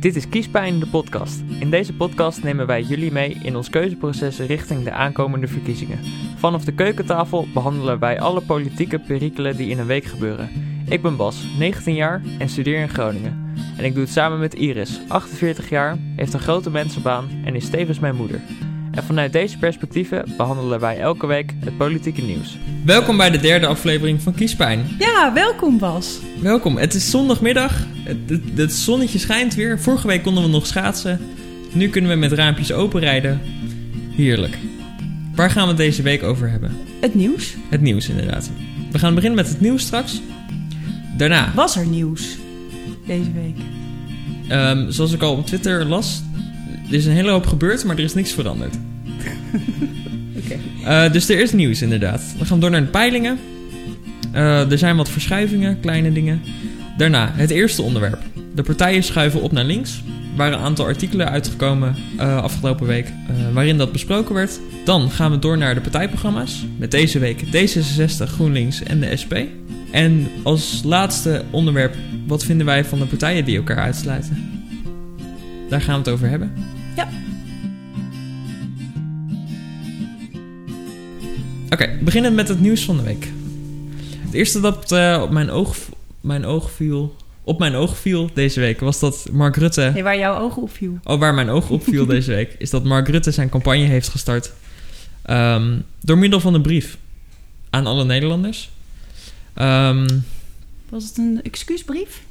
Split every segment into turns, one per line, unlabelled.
Dit is Kiespijn, de podcast. In deze podcast nemen wij jullie mee in ons keuzeproces richting de aankomende verkiezingen. Vanaf de keukentafel behandelen wij alle politieke perikelen die in een week gebeuren. Ik ben Bas, 19 jaar en studeer in Groningen. En ik doe het samen met Iris, 48 jaar, heeft een grote mensenbaan en is tevens mijn moeder. En vanuit deze perspectieven behandelen wij elke week het politieke nieuws. Welkom bij de derde aflevering van Kiespijn.
Ja, welkom Bas.
Welkom, het is zondagmiddag. Het, het- het zonnetje schijnt weer. Vorige week konden we nog schaatsen. Nu kunnen we met raampjes openrijden. Heerlijk. Waar gaan we het deze week over hebben?
Het nieuws.
Het nieuws inderdaad. We gaan beginnen met het nieuws straks. Daarna,
Was er nieuws deze week?
ehm, zoals ik al op Twitter las, er is een hele hoop gebeurd, maar er is niks veranderd.
Oké.
Eh, dus er is nieuws inderdaad. We gaan door naar de peilingen. Eh, er zijn wat verschuivingen, kleine dingen. Daarna het eerste onderwerp. De partijen schuiven op naar links. Er waren een aantal artikelen uitgekomen eh, afgelopen week eh, waarin dat besproken werd. Dan gaan we door naar de partijprogramma's. Met deze week D66, GroenLinks en de SP. En als laatste onderwerp, wat vinden wij van de partijen die elkaar uitsluiten? Daar gaan we het over hebben. Oké, beginnend met het nieuws van de week. Het eerste dat eh, op, mijn oog, mijn oog viel, op mijn oog viel deze week was dat Mark Rutte.
Nee, waar jouw ogen op viel.
Oh, waar mijn oog op viel deze week is dat Mark Rutte zijn campagne heeft gestart. ehm, door middel van een brief aan alle Nederlanders. Ehm,
Was het een excuusbrief?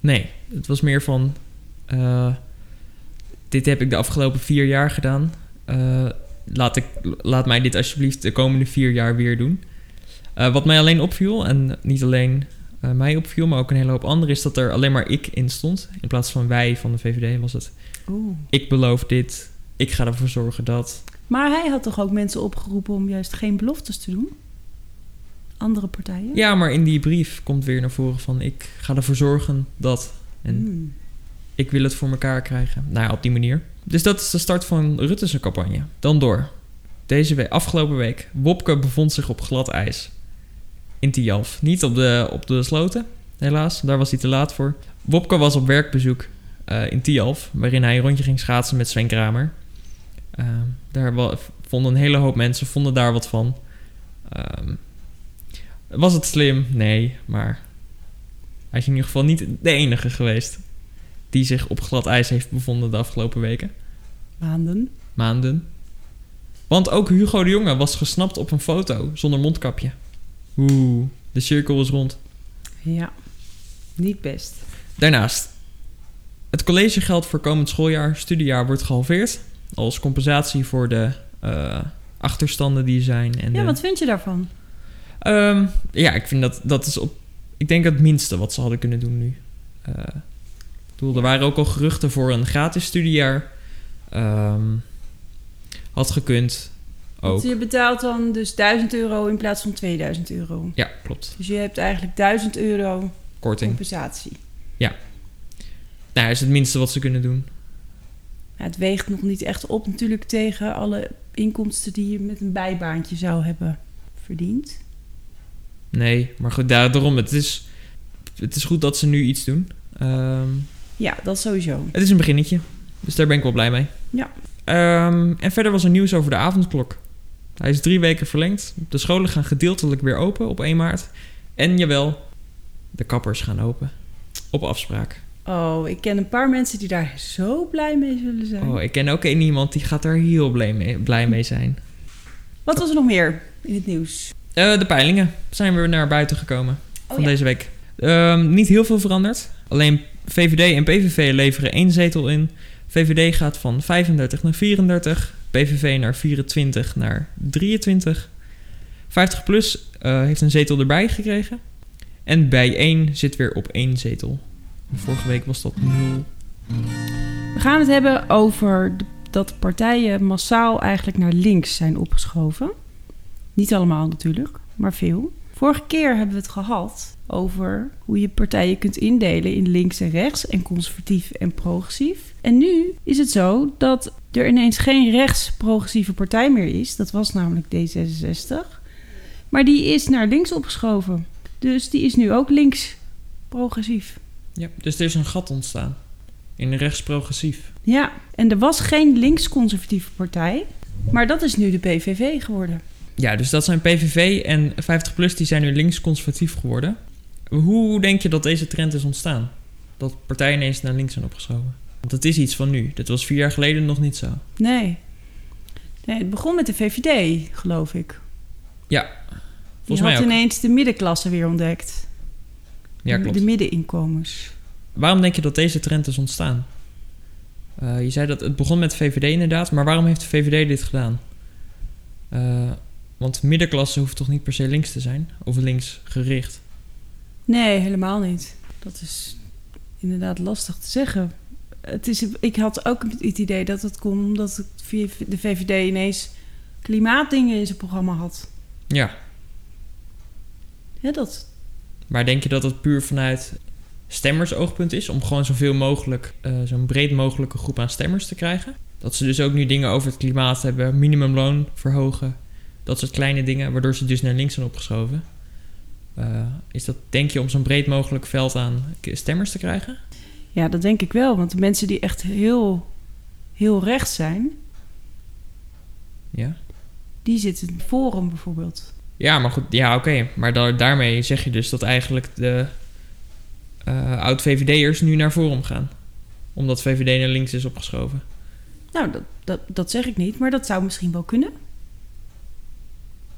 nee, het was meer van. eh, dit heb ik de afgelopen vier jaar gedaan. Eh, laat, ik, laat mij dit alsjeblieft de komende vier jaar weer doen. Eh, wat mij alleen opviel, en niet alleen eh, mij opviel, maar ook een hele hoop anderen, is dat er alleen maar ik in stond. In plaats van wij van de VVD was het
Oeh.
ik beloof dit, ik ga ervoor zorgen dat.
Maar hij had toch ook mensen opgeroepen om juist geen beloftes te doen? Andere partijen?
Ja, maar in die brief komt weer naar voren van ik ga ervoor zorgen dat. En
Hmm.
ik wil het voor elkaar krijgen. Nou ja, op die manier. Dus dat is de start van Rutte's campagne. Dan door. Deze week, afgelopen week, Wopke bevond zich op glad ijs. In Tialf. Niet op de, op de sloten, helaas. Daar was hij te laat voor. Wopke was op werkbezoek eh, in Tialf, waarin hij een rondje ging schaatsen met Sven Kramer. Ehm, daar wa- vonden een hele hoop mensen vonden daar wat van. Ehm, was het slim? Nee, maar hij is in ieder geval niet de enige geweest die zich op glad ijs heeft bevonden de afgelopen weken,
Maanden.
maanden. Want ook Hugo de Jonge was gesnapt op een foto zonder mondkapje. Oeh, de cirkel is rond.
Ja. Niet best.
Daarnaast, het collegegeld voor komend schooljaar, studiejaar, wordt gehalveerd. Als compensatie voor de eh, achterstanden die er zijn. En
Ja,
de-
wat vind je daarvan?
Ehm, ja, ik vind dat dat is op. Ik denk het minste wat ze hadden kunnen doen nu. Eh, ik bedoel, er waren ook al geruchten voor een gratis studiejaar. Ehm, had gekund. Ook.
Want je betaalt dan dus 1000 euro in plaats van 2000 euro.
Ja, klopt.
Dus je hebt eigenlijk 1000 euro
Korting.
compensatie.
Nou, is het minste wat ze kunnen doen.
Ja, het weegt nog niet echt op natuurlijk tegen alle inkomsten die je met een bijbaantje zou hebben verdiend.
Nee, maar goed, daar- daarom. Het is, het is goed dat ze nu iets doen. Ehm,
Ja, dat sowieso.
het is een beginnetje. Dus daar ben ik wel blij mee.
Ja.
Ehm, en verder was er nieuws over de avondklok. Hij is drie weken verlengd. De scholen gaan gedeeltelijk weer open op 1 maart. En jawel, de kappers gaan open. Op afspraak.
Oh, ik ken een paar mensen die daar zo blij mee zullen zijn.
Oh, ik ken ook één iemand die gaat daar heel blij mee, blij mee zijn.
Wat was er nog meer in het nieuws?
Eh, de peilingen zijn weer naar buiten gekomen van
Oh ja.
deze week. Ehm, niet heel veel veranderd. Alleen VVD en PVV leveren één zetel in. VVD gaat van 35 naar 34. PVV naar 24 naar 23. 50 plus eh, heeft een zetel erbij gekregen. En bij 1 zit weer op één zetel. Vorige week was dat 0.
We gaan het hebben over de- dat partijen massaal eigenlijk naar links zijn opgeschoven. Niet allemaal natuurlijk, maar veel. Vorige keer hebben we het gehad over hoe je partijen kunt indelen in links en rechts en conservatief en progressief. En nu is het zo dat er ineens geen rechts-progressieve partij meer is. Dat was namelijk D66. Maar die is naar links opgeschoven. Dus die is nu ook links-progressief.
Ja, dus er is een gat ontstaan. in rechtsprogressief.
Ja, en er was geen links-conservatieve partij, maar dat is nu de PVV geworden.
Ja, dus dat zijn PVV en 50PLUS, die zijn nu links-conservatief geworden. Hoe denk je dat deze trend is ontstaan? Dat partijen ineens naar links zijn opgeschoven? Want dat is iets van nu. Dat was vier jaar geleden nog niet zo.
Nee. nee het begon met de VVD, geloof ik.
Ja,
Die
volgens mij
had
ook.
ineens de middenklasse weer ontdekt.
Ja,
De-
klopt.
De middeninkomens.
Waarom denk je dat deze trend is ontstaan? Eh, je zei dat het begon met VVD inderdaad, maar waarom heeft de VVD dit gedaan? Eh, want middenklasse hoeft toch niet per se links te zijn? Of links gericht?
Nee, helemaal niet. Dat is inderdaad lastig te zeggen. Het is, ik had ook het idee dat het komt omdat het via de VVD ineens klimaatdingen in zijn programma had.
Ja,
Ja, dat,
maar denk je dat het puur vanuit stemmersoogpunt is? Om gewoon zoveel mogelijk, eh, zo'n breed mogelijke groep aan stemmers te krijgen? Dat ze dus ook nu dingen over het klimaat hebben, minimumloon verhogen, dat soort kleine dingen, waardoor ze dus naar links zijn opgeschoven. Eh, is dat, denk je, om zo'n breed mogelijk veld aan k- stemmers te krijgen?
ja, dat denk ik wel. Want de mensen die echt heel, heel rechts zijn,
Ja.
die zitten in het Forum bijvoorbeeld.
Ja, maar goed, ja, oké. Maar da- daarmee zeg je dus dat eigenlijk de eh, oud-VVD'ers nu naar voren gaan. Omdat VVD naar links is opgeschoven.
Nou, dat, dat, dat zeg ik niet, maar dat zou misschien wel kunnen.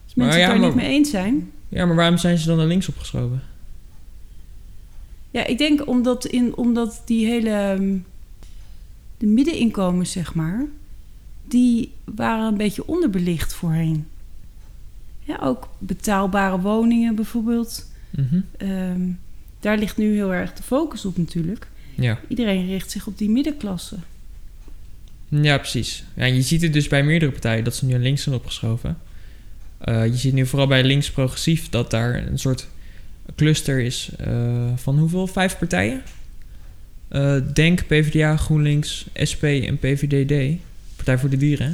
Als
Maar
mensen
ja,
het daar
maar-
niet mee eens zijn.
Ja, maar waarom zijn ze dan naar links opgeschoven?
Ja, ik denk omdat, in, omdat die hele... ehm, De middeninkomens, zeg maar... Die waren een beetje onderbelicht voorheen. Ja, ook betaalbare woningen bijvoorbeeld.
Mhm.
Ehm, daar ligt nu heel erg de focus op natuurlijk.
Ja.
Iedereen richt zich op die middenklasse.
ja, precies. Ja, je ziet het dus bij meerdere partijen dat ze nu naar links zijn opgeschoven. Eh, je ziet nu vooral bij links progressief dat daar een soort cluster is eh, van hoeveel? Vijf partijen? Eh, Denk, PvdA, GroenLinks, SP en PVDD. Partij voor de Dieren. hè?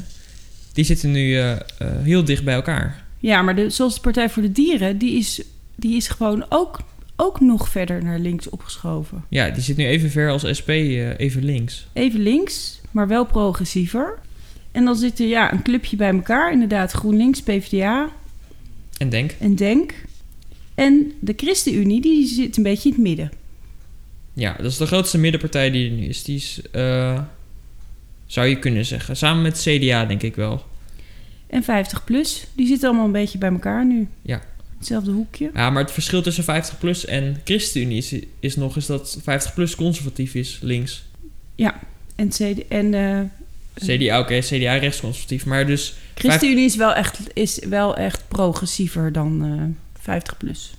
Die zitten nu eh, eh, heel dicht bij elkaar.
Ja, maar de, zoals de Partij voor de Dieren... die is, die is gewoon ook, ook nog verder naar links opgeschoven.
Ja, die zit nu even ver als SP, eh, even links.
even links, maar wel progressiever. En dan zit er ja, een clubje bij elkaar, inderdaad GroenLinks, PvdA
En Denk.
en Denk. En de ChristenUnie, die zit een beetje in het midden.
Ja, dat is de grootste middenpartij die er nu is. Die is, eh, zou je kunnen zeggen. Samen met CDA denk ik wel.
En 50 plus, die zitten allemaal een beetje bij elkaar nu.
Ja.
Hetzelfde hoekje.
Ja, maar het verschil tussen 50PLUS en ChristenUnie is, is nog eens dat 50PLUS conservatief is, links.
En, CD, en eh,
CDA, oké, CDA rechtsconservatief. Maar dus,
ChristenUnie is wel echt, is wel echt progressiever dan eh 50 plus.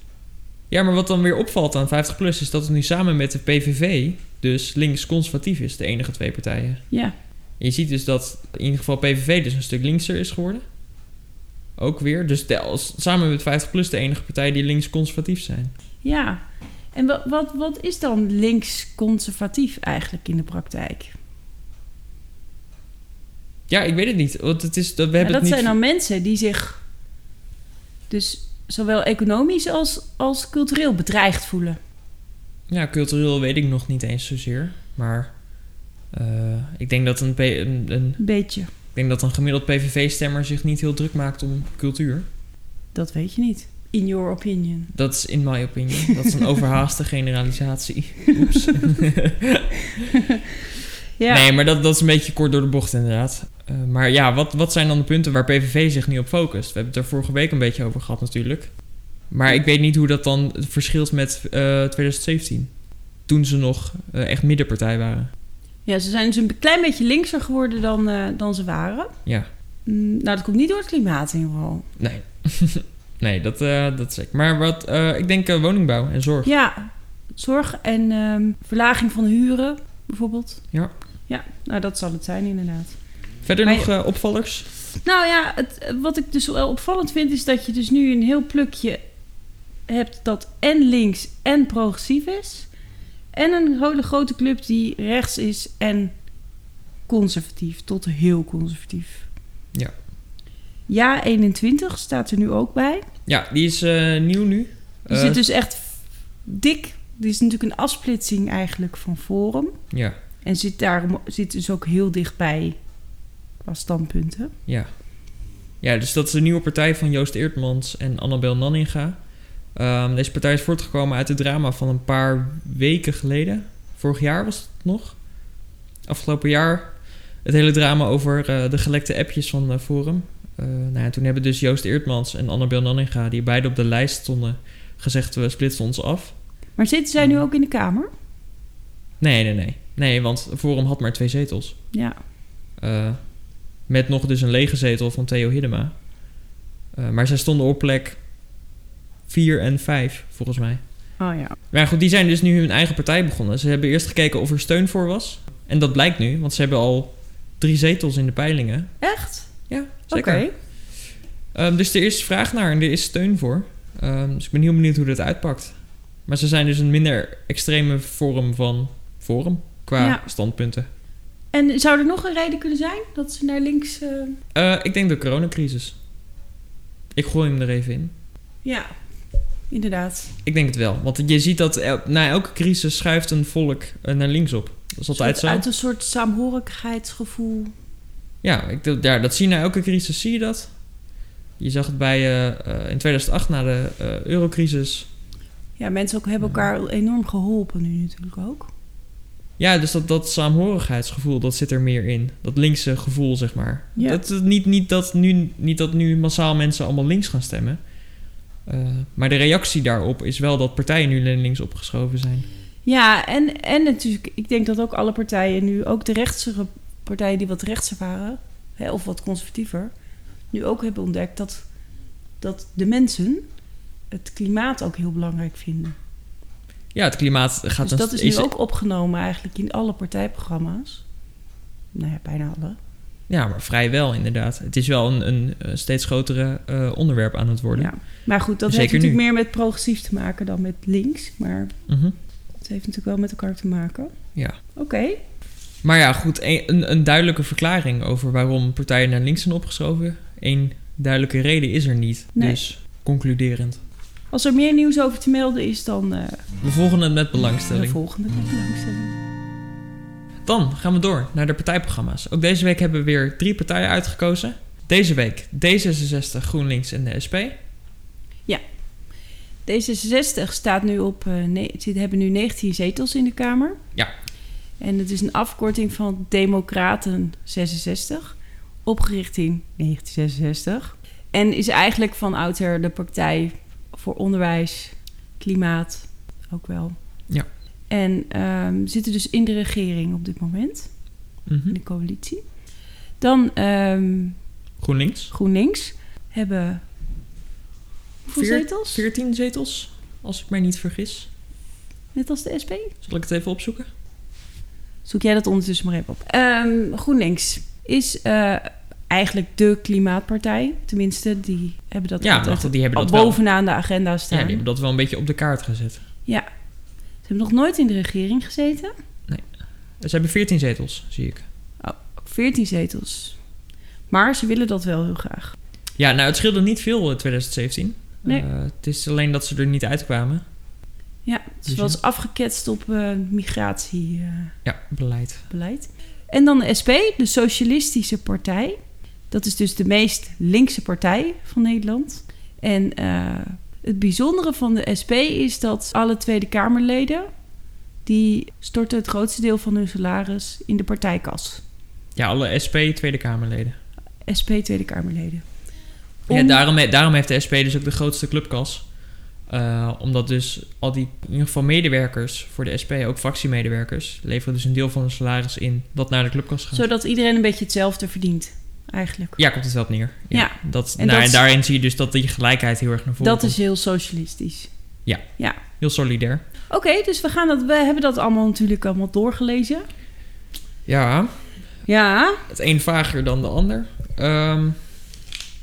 ja, maar wat dan weer opvalt aan 50PLUS is dat het nu samen met de PVV, dus links-conservatief is, de enige twee partijen.
Ja.
Je ziet dus dat in ieder geval PVV dus een stuk linkser is geworden. Ook weer. Dus de, als, samen met 50PLUS de enige partij die links-conservatief zijn.
ja. En wat, wat, wat is dan links-conservatief eigenlijk in de praktijk?
Ja, ik weet het niet. Want het is, dat, we
Ja,
hebben
dat
het
zijn
niet...
dan mensen die zich dus zowel economisch als, als cultureel bedreigd voelen.
Ja, cultureel weet ik nog niet eens zozeer. Maar eh, ik denk dat een, P- een, een-
Een beetje.
ik denk dat een gemiddeld PVV-stemmer zich niet heel druk maakt om cultuur.
Dat weet je niet. In your opinion.
Dat is in my opinion. Dat is een overhaaste generalisatie. Oeps.
Ja,
Nee, maar dat, dat is een beetje kort door de bocht inderdaad. Eh, maar ja, wat, wat zijn dan de punten waar PVV zich nu op focust? We hebben het er vorige week een beetje over gehad natuurlijk. Maar ik weet niet hoe dat dan verschilt met eh, 2017. Toen ze nog eh, echt middenpartij waren.
ja ze zijn dus een klein beetje linkser geworden dan, eh, dan ze waren.
Ja.
Mm, Nou, dat komt niet door het klimaat in ieder geval.
Nee. nee, dat, eh dat zeker. Maar wat, eh, ik denk eh, woningbouw en zorg.
Ja, zorg en ehm, verlaging van huren bijvoorbeeld.
Ja.
Ja, nou dat zal het zijn inderdaad.
Verder
Maar
nog eh, opvallers?
Nou ja, het, wat ik dus wel opvallend vind is dat je dus nu een heel plukje hebt dat en links en progressief is. En een hele grote club die rechts is en conservatief, tot heel conservatief.
Ja.
Ja 21 staat er nu ook bij.
Ja, die is eh, nieuw nu.
Die
Eh,
zit dus echt dik. Dit is natuurlijk een afsplitsing eigenlijk van Forum
Ja.
En zit, daarom, zit dus ook heel dichtbij qua standpunten.
Ja. Ja, dus dat is de nieuwe partij van Joost Eertmans en Annabel Nanninga. Ehm, deze partij is voortgekomen uit het drama van een paar weken geleden. Vorig jaar was het nog. Afgelopen jaar het hele drama over eh, de gelekte appjes van eh, Forum. Eh, nou ja, toen hebben dus Joost Eertmans en Annabel Nanninga, die beide op de lijst stonden, gezegd we splitsen ons af.
Maar zitten zij
Mm.
nu ook in de Kamer?
Nee, nee, nee. Nee, want Forum had maar twee zetels.
Ja.
Eh, met nog dus een lege zetel van Theo Hiddema. Eh, maar zij stonden op plek 4 en 5, volgens mij.
Oh ja.
Maar ja, goed, die zijn dus nu hun eigen partij begonnen. Ze hebben eerst gekeken of er steun voor was. En dat blijkt nu, want ze hebben al drie zetels in de peilingen.
Echt?
Ja,
Oké.
zeker. Ehm, dus er is vraag naar en er is steun voor. Ehm, dus ik ben heel benieuwd hoe dat uitpakt. Maar ze zijn dus een minder extreme vorm van forum qua
Ja.
standpunten.
En zou er nog een reden kunnen zijn dat ze naar links... eh,
Eh, ik denk de coronacrisis. Ik gooi hem er even in.
Ja, inderdaad.
Ik denk het wel. Want je ziet dat el- na elke crisis schuift een volk eh, naar links op. Dat is altijd zo.
Uit een soort saamhorigheidsgevoel.
Ja, ik, d- ja, dat zie je na elke crisis, zie je dat. Je zag het bij, eh, eh, in 2008 na de eh, eurocrisis.
Ja, mensen ook hebben elkaar enorm geholpen nu natuurlijk ook.
Ja, dus dat, dat saamhorigheidsgevoel, dat zit er meer in. Dat linkse gevoel, zeg maar.
Ja.
Dat, dat niet, niet, dat nu, niet dat nu massaal mensen allemaal links gaan stemmen. Eh, maar de reactie daarop is wel dat partijen nu naar links opgeschoven zijn.
Ja, en, en natuurlijk, ik denk dat ook alle partijen nu, ook de rechtse partijen die wat rechtser waren, hè, of wat conservatiever, nu ook hebben ontdekt dat, dat de mensen het klimaat ook heel belangrijk vinden.
Ja, het klimaat gaat...
dus
een-
dat is nu ook opgenomen eigenlijk in alle partijprogramma's. Nou ja, bijna alle.
Ja, maar vrijwel inderdaad. Het is wel een, een eh, steeds grotere eh, onderwerp aan het worden.
Ja. Maar goed, dat heeft
Zeker
natuurlijk
nu.
meer met progressief te maken dan met links. Maar
Mhm.
het heeft natuurlijk wel met elkaar te maken.
Ja.
Oké.
Maar ja, goed, een, een, een duidelijke verklaring over waarom partijen naar links zijn opgeschoven. Eén duidelijke reden is er niet.
Nee.
Dus concluderend.
Als er meer nieuws over te melden is, dan eh
We volgen het met
de
belangstelling.
volgende keer belangstelling.
Dan gaan we door naar de partijprogramma's. Ook deze week hebben we weer drie partijen uitgekozen. Deze week D66, GroenLinks en de SP.
D66 staat nu op, eh, ne- ze hebben nu 19 zetels in de Kamer.
Ja.
En het is een afkorting van Democraten 66, opgericht in 1966. En is eigenlijk van ouder de partij voor onderwijs, klimaat ook wel.
Ja.
En ehm, zitten dus in de regering op dit moment, in
Mhm.
de coalitie. Dan ehm,
GroenLinks.
GroenLinks hebben. Hoeveel
Veer-
zetels?
14 zetels, als ik mij niet vergis.
Net als de SP.
Zal ik het even opzoeken?
Zoek jij dat ondertussen maar even op. Ehm, GroenLinks is eh, eigenlijk de klimaatpartij. Tenminste, die hebben dat
ja,
altijd
want die hebben
al
dat wel.
bovenaan de agenda
Ja,
staan.
die hebben dat wel een beetje op de kaart gezet.
Ze hebben nog nooit in de regering gezeten.
Ze hebben 14 zetels, zie ik.
14 zetels. Maar ze willen dat wel heel graag.
Ja, nou, het scheelde niet veel eh, 2017.
Nee.
Eh, het is alleen dat ze er niet uitkwamen.
Ja,
Dus
ze was afgeketst op eh, migratie. eh,
Ja, beleid.
beleid. En dan de SP, de Socialistische Partij. Dat is dus de meest linkse partij van Nederland. En eh, het bijzondere van de SP is dat alle Tweede Kamerleden... die storten het grootste deel van hun salaris in de partijkas.
Ja, alle SP Tweede Kamerleden.
SP Tweede Kamerleden.
Ja,
Om-
daarom, he- daarom heeft de SP dus ook de grootste clubkas. Eh, omdat dus al die, in ieder geval medewerkers voor de SP, ook fractiemedewerkers, leveren dus een deel van hun salaris in dat naar de clubkas gaat.
Zodat iedereen een beetje hetzelfde verdient, eigenlijk.
Ja, komt het wel op neer.
Ja.
Dat,
En
nou,
dat
en
is-
daarin zie je dus dat die gelijkheid heel erg naar voren
dat
komt.
is heel socialistisch.
Heel solidair.
Oké, dus we, gaan dat, we hebben dat allemaal natuurlijk allemaal doorgelezen.
Ja,
Ja,
het een vager dan de ander. Ehm,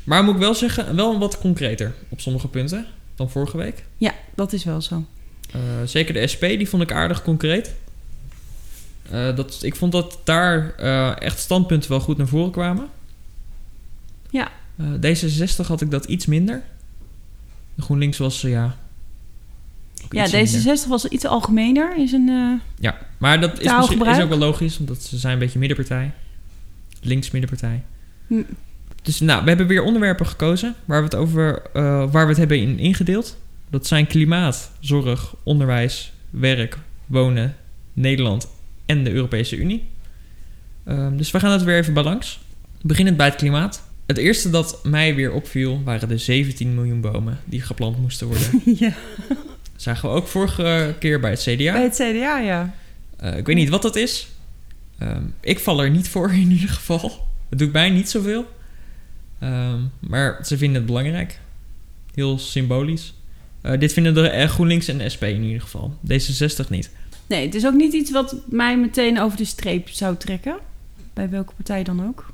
maar moet ik wel zeggen, wel wat concreter op sommige punten dan vorige week.
ja, dat is wel zo.
Eh, zeker de SP, die vond ik aardig concreet. Eh, dat, ik vond dat daar eh, echt standpunten wel goed naar voren kwamen.
Ja.
Eh, D66 had ik dat iets minder. De GroenLinks was, eh, ja... ook
Ja,
iets minder.
D66 was iets algemener in zijn... eh,
Ja, maar dat is, misschien,
Taalgebruik.
is ook wel logisch, omdat ze zijn een beetje middenpartij. Links-middenpartij.
Hm.
Dus nou, we hebben weer onderwerpen gekozen waar we het, over, eh, waar we het hebben in ingedeeld. Dat zijn klimaat, zorg, onderwijs, werk, wonen, Nederland en de Europese Unie. Ehm, dus we gaan dat weer even balans. Beginnend bij het klimaat. Het eerste dat mij weer opviel waren de 17 miljoen bomen die geplant moesten worden.
ja.
zagen we ook vorige keer bij het CDA.
Bij het CDA, ja.
Eh, ik weet niet wat dat is. Ehm, ik val er niet voor in ieder geval. Het doet mij niet zoveel. Ehm, maar ze vinden het belangrijk. Heel symbolisch. Eh, dit vinden de eh, GroenLinks en de SP in ieder geval. D66 niet.
Nee, het is ook niet iets wat mij meteen over de streep zou trekken. Bij welke partij dan ook.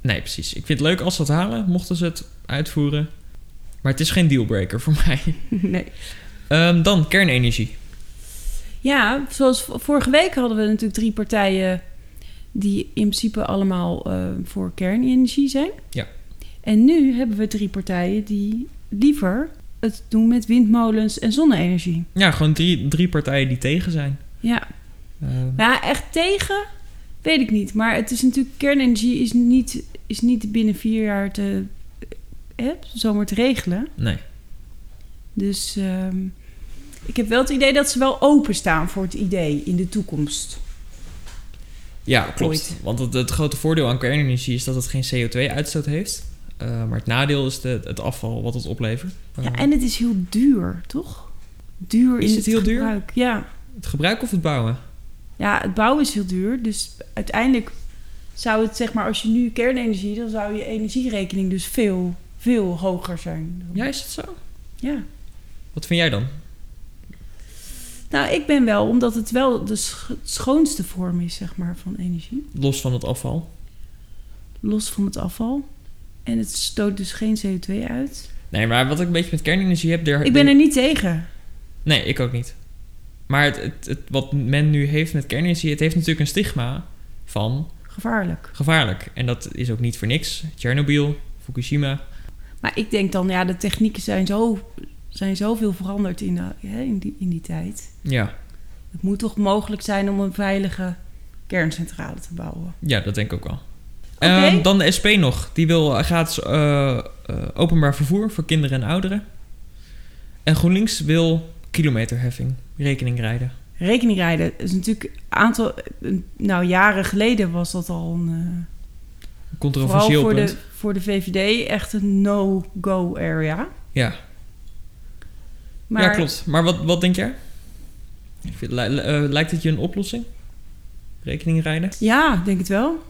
Nee, precies. Ik vind het leuk als ze het halen, mochten ze het uitvoeren. Maar het is geen dealbreaker voor mij.
nee.
Ehm, dan kernenergie.
Ja, zoals v- vorige week hadden we natuurlijk drie partijen die in principe allemaal eh, voor kernenergie zijn.
Ja.
En nu hebben we drie partijen die liever het doen met windmolens en zonne-energie.
Ja, gewoon drie, drie partijen die tegen zijn.
Ja.
Ehm,
Maar ja, echt tegen, weet ik niet. Maar het is natuurlijk, kernenergie is niet, is niet binnen vier jaar te, eh, zomaar te regelen.
nee.
Dus ehm, ik heb wel het idee dat ze wel openstaan voor het idee in de toekomst.
Ja, klopt.
Ooit.
Want het, het grote voordeel aan kernenergie is dat het geen CO2-uitstoot heeft. Eh, maar het nadeel is de, het afval wat het oplevert. Eh,
Ja, en het is heel duur, toch? Duur
Is
in
het heel duur?
gebruik. Ja.
Het gebruik of het bouwen?
ja, het bouwen is heel duur. Dus uiteindelijk zou het, zeg maar, als je nu kernenergie... dan zou je energierekening dus veel, veel hoger zijn.
Ja, is het zo?
Ja.
Wat vind jij dan?
Nou, ik ben wel, omdat het wel de sch- schoonste vorm is, zeg maar, van energie.
Los van het afval?
Los van het afval. En het stoot dus geen CO2 uit.
Nee, maar wat ik een beetje met kernenergie heb... daar-
Ik ben er niet tegen.
Nee, ik ook niet. Maar het, het, het- wat men nu heeft met kernenergie... het heeft natuurlijk een stigma van
Gevaarlijk.
gevaarlijk. En dat is ook niet voor niks. Tsjernobyl, Fukushima.
Maar ik denk dan, ja, de technieken zijn, zo, zijn zoveel veranderd in, de, hè, in, die, in die tijd.
Ja,
Het moet toch mogelijk zijn om een veilige kerncentrale te bouwen.
ja dat denk ik ook wel.
Oké.
Ehm, dan de SP nog. Die wil gratis eh, eh, openbaar vervoer voor kinderen en ouderen. En GroenLinks wil kilometerheffing, rekening rijden.
Rekening rijden is natuurlijk een aantal, een- nou jaren geleden was dat al een, eh, vooral
Controversieel
voor
punt.
de, voor de VVD echt een no-go area.
Ja.
Maar
ja, klopt. Maar wat, wat denk jij? Ik vind- li- li- eh, lijkt het je een oplossing? Rekening rijden?
Ja, ik denk het wel.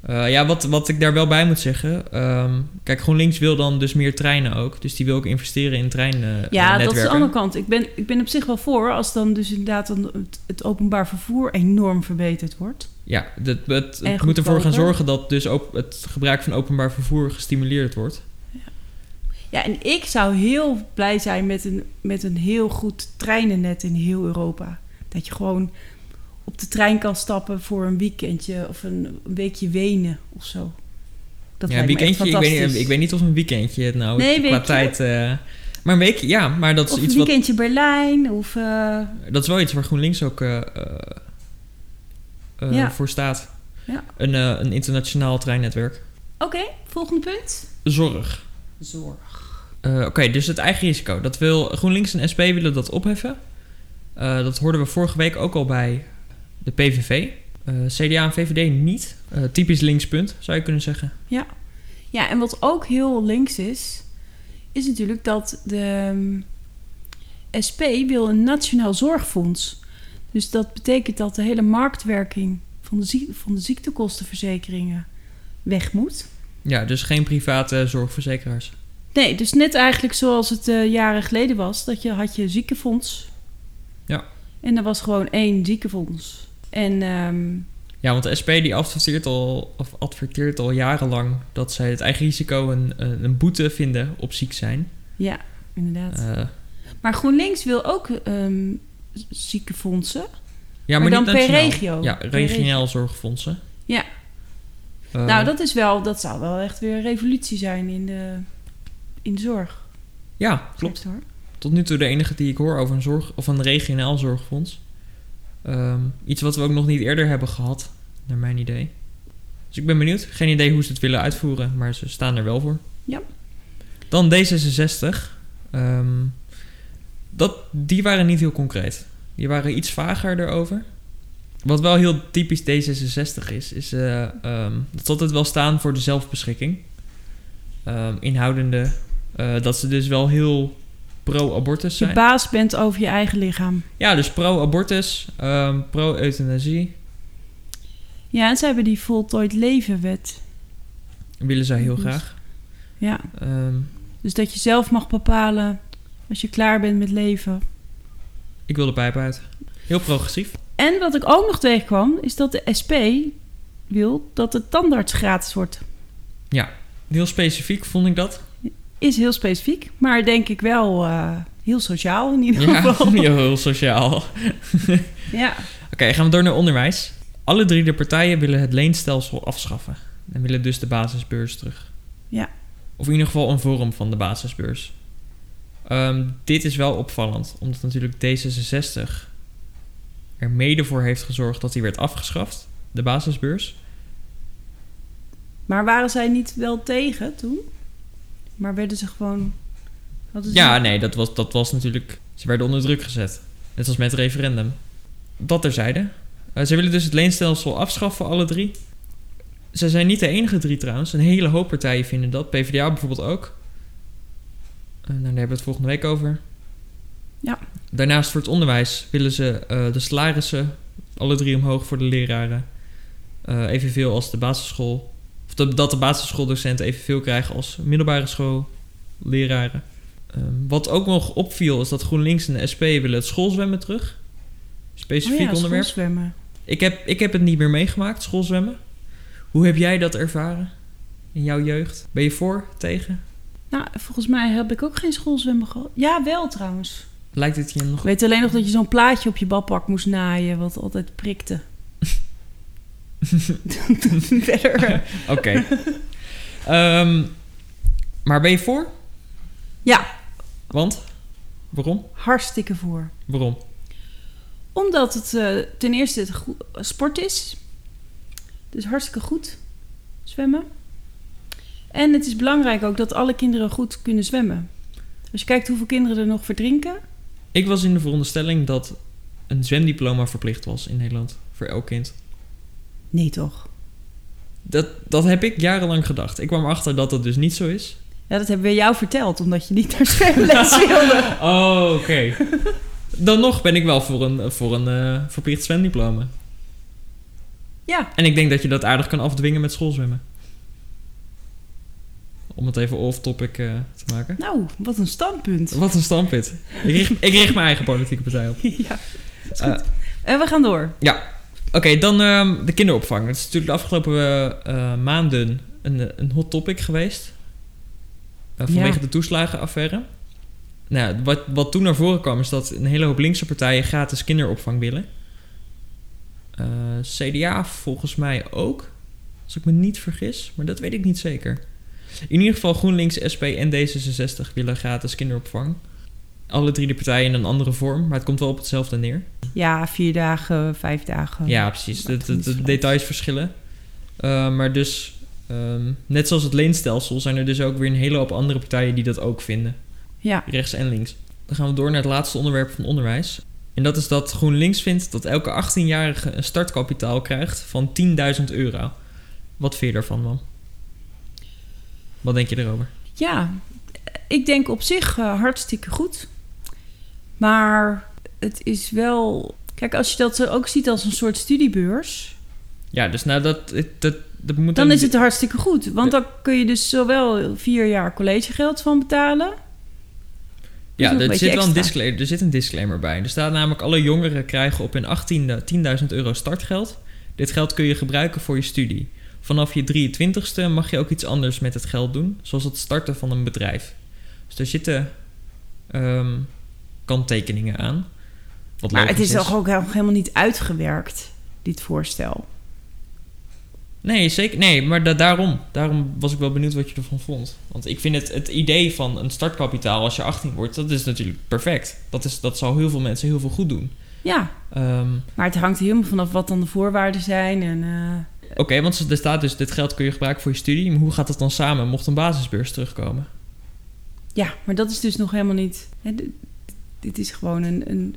Eh, ja, wat, wat ik daar wel bij moet zeggen. ehm, kijk, GroenLinks wil dan dus meer treinen ook. Dus die wil ook investeren in treinen.
Ja,
netwerken.
dat is de andere kant. Ik ben, ik ben op zich wel voor als dan dus inderdaad dan het, het openbaar vervoer enorm verbeterd wordt.
Ja, dat, het,
En
het moet ervoor gaan
goedkoper.
zorgen dat dus ook het gebruik van openbaar vervoer gestimuleerd wordt.
Ja, en ik zou heel blij zijn met een, met een heel goed treinennet in heel Europa. Dat je gewoon op de trein kan stappen voor een weekendje of een weekje Wenen of zo. Dat
ja, een
lijkt me echt
weekendje. Ik weet, niet,
fantastisch.
ik weet niet of een weekendje het nou
Nee,
qua
weekje.
tijd. eh, maar een weekje, ja, maar dat is,
of
iets
een weekendje Berlijn of... eh,
wat, dat is wel iets waar GroenLinks ook eh, eh, eh,
Ja.
voor staat.
Ja.
Een, eh, een internationaal treinnetwerk.
Oké, volgende punt.
Zorg.
Zorg.
Eh, Oké, dus het eigen risico. Dat wil, GroenLinks en SP willen dat opheffen. Eh, dat hoorden we vorige week ook al bij de PVV. Eh, CDA en VVD niet. Eh, typisch linkspunt, zou je kunnen zeggen.
Ja, en wat ook heel links is, is natuurlijk dat de ehm, SP wil een nationaal zorgfonds. Dus dat betekent dat de hele marktwerking van de, ziek- van de ziektekostenverzekeringen weg moet.
Ja, dus geen private zorgverzekeraars.
Nee, dus net eigenlijk zoals het eh, jaren geleden was, dat je had je ziekenfonds.
Ja.
En er was gewoon één ziekenfonds. En ehm,
Ja, want de SP die adverteert al, of adverteert al jarenlang dat zij het eigen risico een, eh, een, een boete vinden op ziek zijn.
ja, inderdaad.
Eh,
maar GroenLinks wil ook ehm, z- ziekenfondsen.
ja,
Maar
maar,
dan
niet
per
nationaal.
regio.
Ja,
Per
regionaal zorgfondsen.
Ja.
Eh,
nou, dat is wel, dat zou wel echt weer een revolutie zijn in de, in de zorg.
Ja, klopt.
Hoor.
tot nu toe de enige die ik hoor over een, zorg, of een regionaal zorgfonds. Ehm, iets wat we ook nog niet eerder hebben gehad, naar mijn idee. Dus ik ben benieuwd. Geen idee hoe ze het willen uitvoeren, maar ze staan er wel voor.
Ja.
Dan D66. Ehm, dat, die waren niet heel concreet. Die waren iets vager erover. Wat wel heel typisch D66 is, is eh, ehm, dat ze altijd wel staan voor de zelfbeschikking. Ehm, inhoudende eh, dat ze dus wel heel pro-abortus
Je
zijn.
baas bent over je eigen lichaam.
Ja, dus pro-abortus, ehm, pro-euthanasie
Ja, en ze hebben die voltooid levenwet.
willen zij heel
Dus-
graag.
Ja,
Ehm,
dus dat je zelf mag bepalen als je klaar bent met leven.
ik wil de pijp uit. Heel progressief.
En wat ik ook nog tegenkwam, is dat de SP wil dat de tandarts gratis wordt.
Heel specifiek vond ik dat.
Is heel specifiek, maar denk ik wel eh, heel sociaal in ieder geval. Ja.
heel sociaal. Oké, gaan we door naar onderwijs. Alle drie de partijen willen het leenstelsel afschaffen. En willen dus de basisbeurs terug.
Ja.
Of in ieder geval een vorm van de basisbeurs. Ehm, dit is wel opvallend, omdat natuurlijk D66 er mede voor heeft gezorgd dat die werd afgeschaft, de basisbeurs.
Maar waren zij niet wel tegen toen? Maar werden ze gewoon... hadden ze-
Ja, nee, dat was, dat was natuurlijk. Ze werden onder druk gezet. Net als met het referendum. Dat terzijde. Eh, ze willen dus het leenstelsel afschaffen, alle drie. Ze zijn niet de enige drie trouwens. Een hele hoop partijen vinden dat. PvdA bijvoorbeeld ook. Eh, nou, daar hebben we het volgende week over.
Ja.
Daarnaast voor het onderwijs willen ze eh, de salarissen alle drie omhoog voor de leraren. Eh, evenveel als de basisschool. Of de- dat de basisschooldocenten evenveel krijgen als middelbare schoolleraren. Ehm, wat ook nog opviel is dat GroenLinks en de SP willen het schoolzwemmen terug. Specifiek
Oh ja,
onderwerp.
schoolzwemmen.
Ik heb, ik heb het niet meer meegemaakt, schoolzwemmen. Hoe heb jij dat ervaren in jouw jeugd? Ben je voor, tegen?
Nou, volgens mij heb ik ook geen schoolzwemmen gehad. Ja, wel trouwens.
Lijkt het je nog...
Ik weet alleen nog dat je zo'n plaatje op je badpak moest naaien, wat altijd prikte. Verder. eh,
Oké. Ehm, maar ben je voor?
Ja,
Want? Waarom?
hartstikke voor.
Waarom?
Omdat het eh, ten eerste het goe- sport is. Dus hartstikke goed zwemmen. En het is belangrijk ook dat alle kinderen goed kunnen zwemmen. Als je kijkt hoeveel kinderen er nog verdrinken.
Ik was in de veronderstelling dat een zwemdiploma verplicht was in Nederland. Voor elk kind.
Nee toch?
Dat, dat heb ik jarenlang gedacht. Ik kwam achter dat dat dus niet zo is.
Ja, dat hebben we jou verteld, omdat je niet naar zwemles wilde.
Oh, oké. Dan nog ben ik wel voor een, voor een eh, verplicht zwemdiploma.
Ja,
En ik denk dat je dat aardig kan afdwingen met schoolzwemmen. Om het even off-topic eh, te maken.
nou, wat een standpunt.
Wat een standpunt. Ik richt, ik richt mijn eigen politieke partij op.
ja, is
Eh.
goed. en we gaan door.
Oké, dan ehm, de kinderopvang. Het is natuurlijk de afgelopen eh, maanden een, een hot topic geweest. Eh, vanwege
Ja.
de toeslagenaffaire. Nou, wat, wat toen naar voren kwam is dat een hele hoop linkse partijen gratis kinderopvang willen. Eh, CDA volgens mij ook. Als ik me niet vergis, maar dat weet ik niet zeker. In ieder geval GroenLinks, SP en D66 willen gratis kinderopvang. Alle drie de partijen in een andere vorm, maar het komt wel op hetzelfde neer.
Ja, vier dagen, vijf dagen.
Ja, precies. De,
maakt
de-
niet
de
veel
details verschillen. Eh, maar dus, ehm, net zoals het leenstelsel, zijn er dus ook weer een hele hoop andere partijen die dat ook vinden.
Ja,
Rechts en links. Dan gaan we door naar het laatste onderwerp van onderwijs. En dat is dat GroenLinks vindt dat elke 18-jarige een startkapitaal krijgt van 10.000 euro. Wat vind je daarvan, man? Wat denk je erover?
Ja, ik denk op zich eh, hartstikke goed. Maar het is wel. Kijk, als je dat zo ook ziet als een soort studiebeurs,
Ja, dus nou, dat, dat, dat moet
dan is het hartstikke goed. Want dan kun je dus zowel vier jaar collegegeld van betalen.
Ja,
nog een
er
beetje
zit wel een
extra.
disclaimer, er zit een disclaimer bij. Er staat namelijk: alle jongeren krijgen op hun 18e 10.000 euro startgeld. Dit geld kun je gebruiken voor je studie. Vanaf je 23ste mag je ook iets anders met het geld doen, zoals het starten van een bedrijf. Dus er zitten ehm, kanttekeningen aan. Wat
Maar het
logisch
is toch ook helemaal niet uitgewerkt, dit voorstel.
Nee, zeker. Nee, maar da- daarom. Daarom was ik wel benieuwd wat je ervan vond. Want ik vind het, het idee van een startkapitaal als je 18 wordt, dat is natuurlijk perfect. Dat, is, dat zal heel veel mensen heel veel goed doen.
Ja,
Ehm,
maar het hangt er helemaal vanaf wat dan de voorwaarden zijn. En, eh,
Oké, want er staat dus, dit geld kun je gebruiken voor je studie. Maar hoe gaat dat dan samen mocht een basisbeurs terugkomen?
ja, maar dat is dus nog helemaal niet... Hè, dit- dit is gewoon een, een,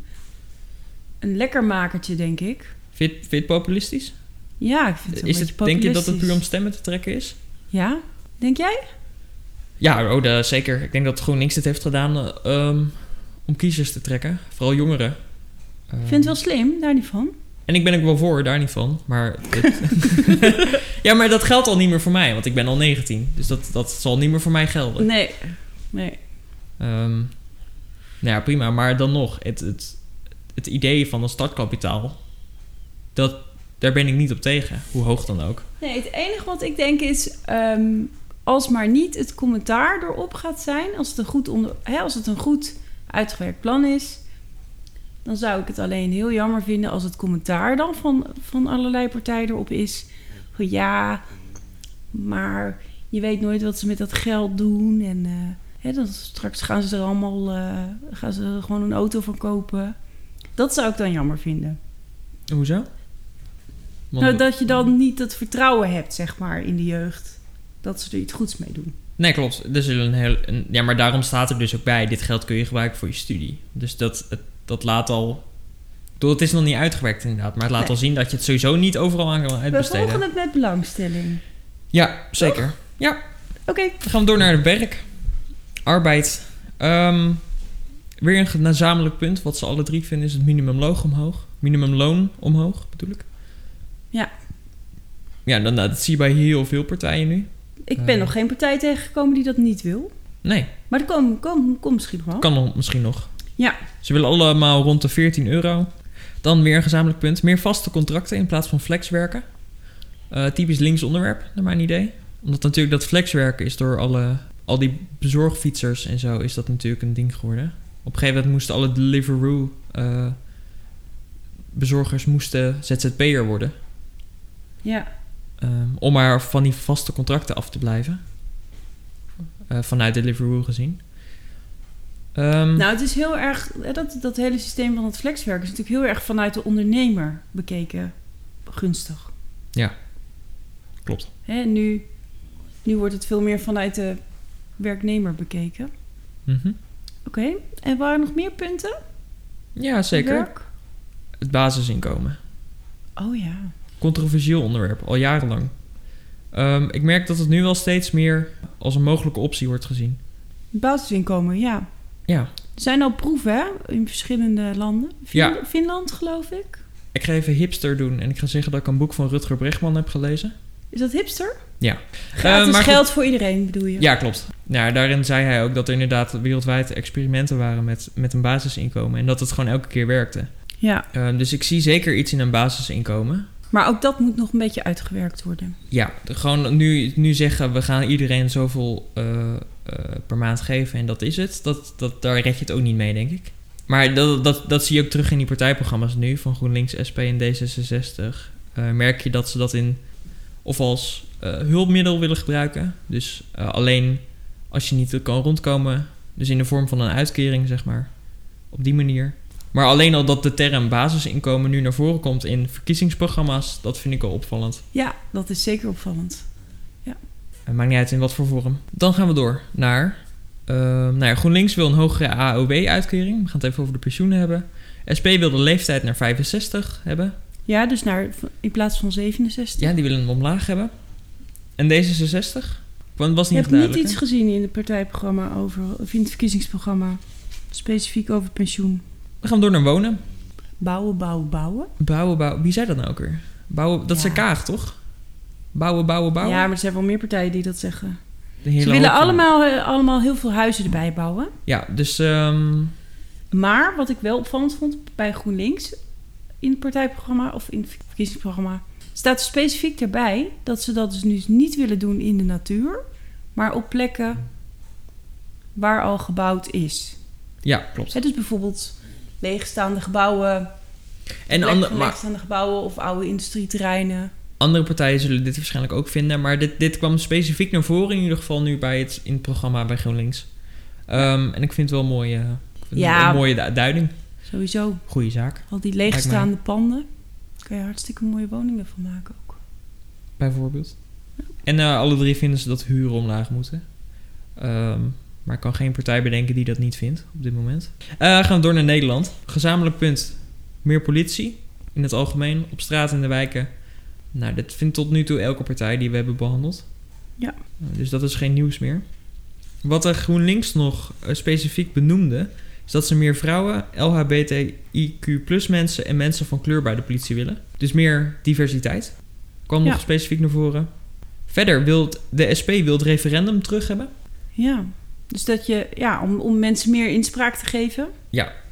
een lekkermakertje, denk ik.
Vind je het- vind je het populistisch?
Ja, ik vind het een
Is
beetje
het, denk je dat het puur om
populistisch.
stemmen te trekken is?
Ja, denk jij?
Ja, oh, de- zeker. Ik denk dat GroenLinks dit heeft gedaan eh, ehm, om kiezers te trekken. Vooral jongeren. Ehm,
Ik vind het wel slim, daar niet van.
En ik ben ook wel voor, daar niet van. Maar het- ja, maar dat geldt al niet meer voor mij, want ik ben al 19. Dus dat, dat zal niet meer voor mij gelden.
Nee, nee.
Ehm, nou ja, prima. Maar dan nog, het, het, het idee van een startkapitaal, dat, daar ben ik niet op tegen. Hoe hoog dan ook.
Nee, het enige wat ik denk is... ehm, als maar niet het commentaar erop gaat zijn... Als het, een goed onder, hè, als het een goed uitgewerkt plan is... dan zou ik het alleen heel jammer vinden... als het commentaar dan van, van allerlei partijen erop is... van ja, maar je weet nooit wat ze met dat geld doen... en eh, hè, dan straks gaan ze er allemaal... eh, gaan ze er gewoon een auto van kopen. Dat zou ik dan jammer vinden.
Hoezo? Want-
Nou, dat je dan niet dat vertrouwen hebt, zeg maar, in de jeugd. Dat ze er iets goeds mee doen.
Nee, klopt. Er zullen een heel, een- ja, maar daarom staat er dus ook bij: dit geld kun je gebruiken voor je studie. Dus dat, het- dat laat al. ik bedoel, Het is nog niet uitgewerkt, inderdaad. Maar het laat
Nee.
al zien dat je het sowieso niet overal aan kan
We
uitbesteden.
volgen het met belangstelling.
Ja, zeker.
Oké.
Dan gaan we door naar het werk. Arbeid. Ehm, weer een gezamenlijk punt. Wat ze alle drie vinden is het minimumloon omhoog. Minimumloon omhoog, bedoel ik.
Ja.
Ja, dan, nou, dat zie je bij heel veel partijen nu.
Ik ben
Eh.
nog geen partij tegengekomen die dat niet wil.
Nee,
Maar dat komt kom, kom misschien nog wel.
kan nog- misschien nog.
Ja.
Ze willen allemaal rond de 14 euro. Dan weer een gezamenlijk punt. Meer vaste contracten in plaats van flexwerken. Eh, typisch links onderwerp, naar mijn idee. Omdat natuurlijk dat flexwerken is door alle, al die bezorgfietsers en zo... is dat natuurlijk een ding geworden. Op een gegeven moment moesten alle Deliveroo... eh, bezorgers moesten ZZP'er worden.
Ja.
Ehm, om maar van die vaste contracten af te blijven. Eh, vanuit Deliveroo gezien. Ehm,
Nou, het is heel erg... hè, Dat, dat hele systeem van het flexwerk is natuurlijk heel erg vanuit de ondernemer bekeken gunstig.
Klopt.
Hè, nu, nu wordt het veel meer vanuit de werknemer bekeken. Oké.
Mhm.
En waren er nog meer punten?
Ja, zeker.
Werk?
Het basisinkomen.
Oh ja.
Controversieel onderwerp, al jarenlang. Ehm, ik merk dat het nu wel steeds meer als een mogelijke optie wordt gezien.
Basisinkomen, ja.
Ja,
Er zijn al proeven hè, in verschillende landen. Vin-
Ja.
Finland, geloof ik.
ik ga even hipster doen en ik ga zeggen dat ik een boek van Rutger Bregman heb gelezen.
Is dat hipster?
Ja.
Gratis
Eh, maar
geld voor iedereen, bedoel je?
Ja, klopt. Nou, daarin zei hij ook dat er inderdaad wereldwijd experimenten waren met, met een basisinkomen en dat het gewoon elke keer werkte.
Ja.
Ehm, dus ik zie zeker iets in een basisinkomen.
Maar ook dat moet nog een beetje uitgewerkt worden.
Ja, de- gewoon nu, nu zeggen we gaan iedereen zoveel eh, eh, per maand geven en dat is het. Dat, dat, daar red je het ook niet mee, denk ik. Maar dat, dat, dat zie je ook terug in die partijprogramma's nu van GroenLinks, SP en D66. Eh, merk je dat ze dat in of als eh, hulpmiddel willen gebruiken. Dus eh, alleen als je niet kan rondkomen. Dus in de vorm van een uitkering, zeg maar. Op die manier. Maar alleen al dat de term basisinkomen nu naar voren komt in verkiezingsprogramma's, dat vind ik al opvallend.
Ja, dat is zeker opvallend.
Het maakt niet uit in wat voor vorm. Dan gaan we door naar... ehm, nou ja, GroenLinks wil een hogere AOW-uitkering. We gaan het even over de pensioenen hebben. SP wil de leeftijd naar 65 hebben.
Ja, dus naar, in plaats van 67.
Ja, die willen hem omlaag hebben. En D66? Want het was niet
Je
echt
hebt niet
duidelijk.
iets
hè?
gezien in het partijprogramma over, of in het verkiezingsprogramma. Specifiek over pensioen.
Dan gaan we door naar wonen.
Bouwen, bouwen, bouwen.
Bouwen, bouwen. Wie zei dat nou ook weer? Bouwen, dat
Ja.
is een kaag, toch? Bouwen, bouwen, bouwen.
Ja, maar er zijn wel meer partijen die dat zeggen.
De hele
Ze willen
hoop van-
allemaal, eh, allemaal heel veel huizen erbij bouwen.
Ja, dus... ehm,
Maar wat ik wel opvallend vond bij GroenLinks in het partijprogramma of in het verkiezingsprogramma, staat specifiek daarbij dat ze dat dus nu niet willen doen in de natuur, maar op plekken waar al gebouwd is.
ja, klopt.
Hè, dus bijvoorbeeld leegstaande gebouwen,
En
plekken
ander,
van
maar
leegstaande gebouwen of oude industrieterreinen.
Andere partijen zullen dit waarschijnlijk ook vinden, maar dit, dit kwam specifiek naar voren in ieder geval nu bij het, in het programma bij GroenLinks. Ehm, en ik vind het wel een mooie, ik vind het
Ja.
wel een mooie du- duiding.
Sowieso,
Goeie zaak,
al die leegstaande panden. Daar kun je hartstikke mooie woningen van maken ook.
bijvoorbeeld. En eh, alle drie vinden ze dat huren omlaag moeten. Ehm, maar ik kan geen partij bedenken die dat niet vindt op dit moment. Eh, gaan we door naar Nederland. Gezamenlijk punt, meer politie in het algemeen, op straat in de wijken. Nou, dat vindt tot nu toe elke partij die we hebben behandeld.
Ja.
Eh, Dus dat is geen nieuws meer. Wat er GroenLinks nog eh, specifiek benoemde, is dat ze meer vrouwen, LHBTIQ mensen en mensen van kleur bij de politie willen. Dus meer diversiteit kwam
Ja.
nog specifiek naar voren. Verder wil het- de SP wil het referendum terug hebben.
Ja, dus dat je, ja, om, om mensen meer inspraak te geven.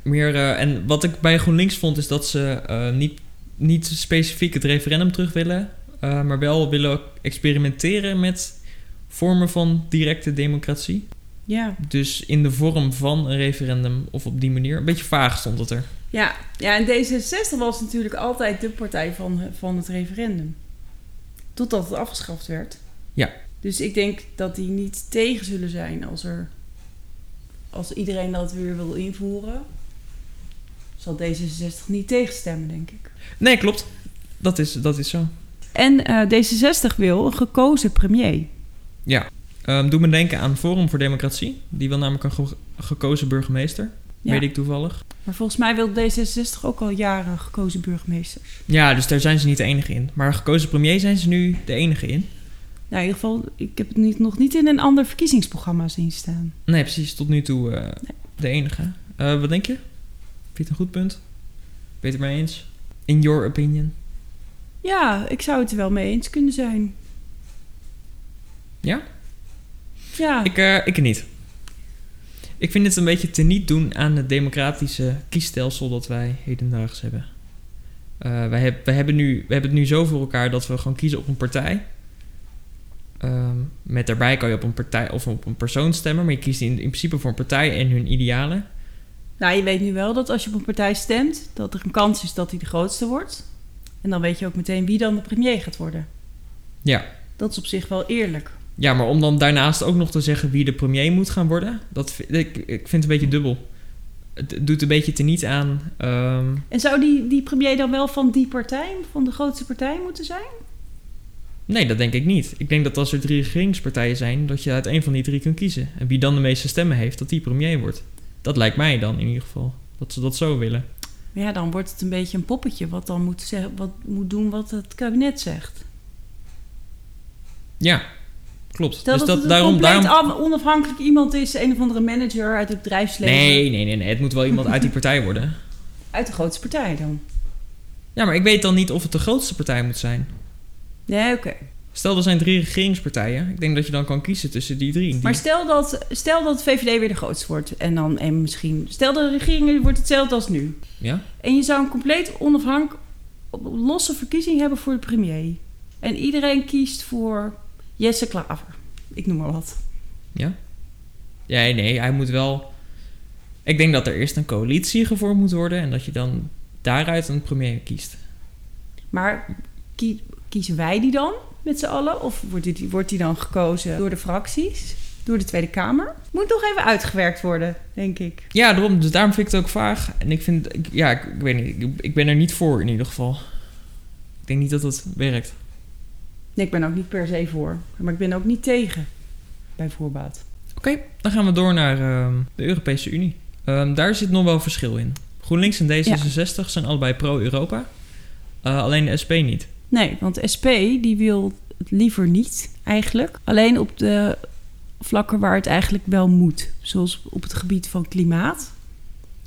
Meer, eh, en wat ik bij GroenLinks vond, is dat ze eh, niet, niet specifiek het referendum terug willen, eh, maar wel willen experimenteren met vormen van directe democratie.
Ja.
Dus in de vorm van een referendum of op die manier. Een beetje vaag stond het er.
Ja, ja, en D66 was natuurlijk altijd de partij van, van het referendum. Totdat het afgeschaft werd.
Ja.
Dus ik denk dat die niet tegen zullen zijn als er... Als iedereen dat weer wil invoeren... zal D66 niet tegenstemmen, denk ik.
Nee, klopt. Dat is, dat is zo.
En eh, D66 wil een gekozen premier.
Ehm doe me denken aan Forum voor Democratie. Die wil namelijk een ge- gekozen burgemeester.
Ja.
Weet ik toevallig.
Maar volgens mij wil D66 ook al jaren gekozen burgemeesters.
Ja, dus daar zijn ze niet de enige in. Maar gekozen premier zijn ze nu de enige in.
Nou, in ieder geval, ik heb het niet, nog niet in een ander verkiezingsprogramma zien staan.
Nee, precies. Tot nu toe eh, de enige. Eh, wat denk je? Vind je het een goed punt? Weet het mij eens? In your opinion.
Ja, ik zou het er wel mee eens kunnen zijn.
Ja?
Ja,
Ik, eh ik niet. Ik vind het een beetje teniet doen aan het democratische kiesstelsel dat wij hedendaags hebben. Eh, wij, heb, wij hebben nu, we hebben het nu zo voor elkaar dat we gewoon kiezen op een partij. Ehm, met daarbij kan je op een partij of op een persoon stemmen, maar je kiest in, in principe voor een partij en hun idealen.
nou je weet nu wel dat als je op een partij stemt, dat er een kans is dat hij de grootste wordt. En dan weet je ook meteen wie dan de premier gaat worden.
Ja.
Dat is op zich wel eerlijk.
Ja, maar om dan daarnaast ook nog te zeggen wie de premier moet gaan worden, dat vind, ik, ik vind het een beetje dubbel. Het doet een beetje teniet aan. ehm,
En zou die, die premier dan wel van die partij, van de grootste partij moeten zijn?
nee, dat denk ik niet. Ik denk dat als er drie regeringspartijen zijn, dat je uit één van die drie kunt kiezen. En wie dan de meeste stemmen heeft, dat die premier wordt. Dat lijkt mij dan in ieder geval. Dat ze dat zo willen.
Maar ja, dan wordt het een beetje een poppetje wat dan moet, zeggen, wat moet doen wat het kabinet zegt.
Ja, klopt. Dus
Stel dat, het een compleet am- onafhankelijk iemand is, een of andere manager uit het bedrijfsleven.
Nee, nee, nee, nee. Het moet wel iemand uit die partij worden.
Uit de grootste partij dan.
Ja, maar ik weet dan niet of het de grootste partij moet zijn.
Nee, oké.
Stel, er zijn drie regeringspartijen. Ik denk dat je dan kan kiezen tussen die drie. Die-
Maar stel dat, stel dat VVD weer de grootste wordt. En dan en misschien. Stel de regering wordt hetzelfde als nu.
Ja?
En je zou een compleet onafhankelijk losse verkiezing hebben voor de premier. En iedereen kiest voor Jesse Klaver. Ik noem maar wat.
Ja, nee, hij moet wel. Ik denk dat er eerst een coalitie gevormd moet worden en dat je dan daaruit een premier kiest.
Maar kie- kiezen wij die dan met z'n allen? Of wordt die, wordt die dan gekozen door de fracties? Door de Tweede Kamer? Moet nog even uitgewerkt worden, denk ik.
Ja, daarom, dus daarom vind ik het ook vaag. En ik vind, ik- ja, ik, ik weet niet, ik, ik ben er niet voor in ieder geval. Ik denk niet dat dat werkt.
Nee, ik ben ook niet per se voor. Maar ik ben ook niet tegen. Bij voorbaat.
Oké, dan gaan we door naar ehm, de Europese Unie. Ehm, daar zit nog wel verschil in. GroenLinks en D66 zijn allebei pro-Europa, Eh, alleen de SP niet.
Nee, want de SP die wil het liever niet eigenlijk. Alleen op de vlakken waar het eigenlijk wel moet. Zoals op het gebied van klimaat.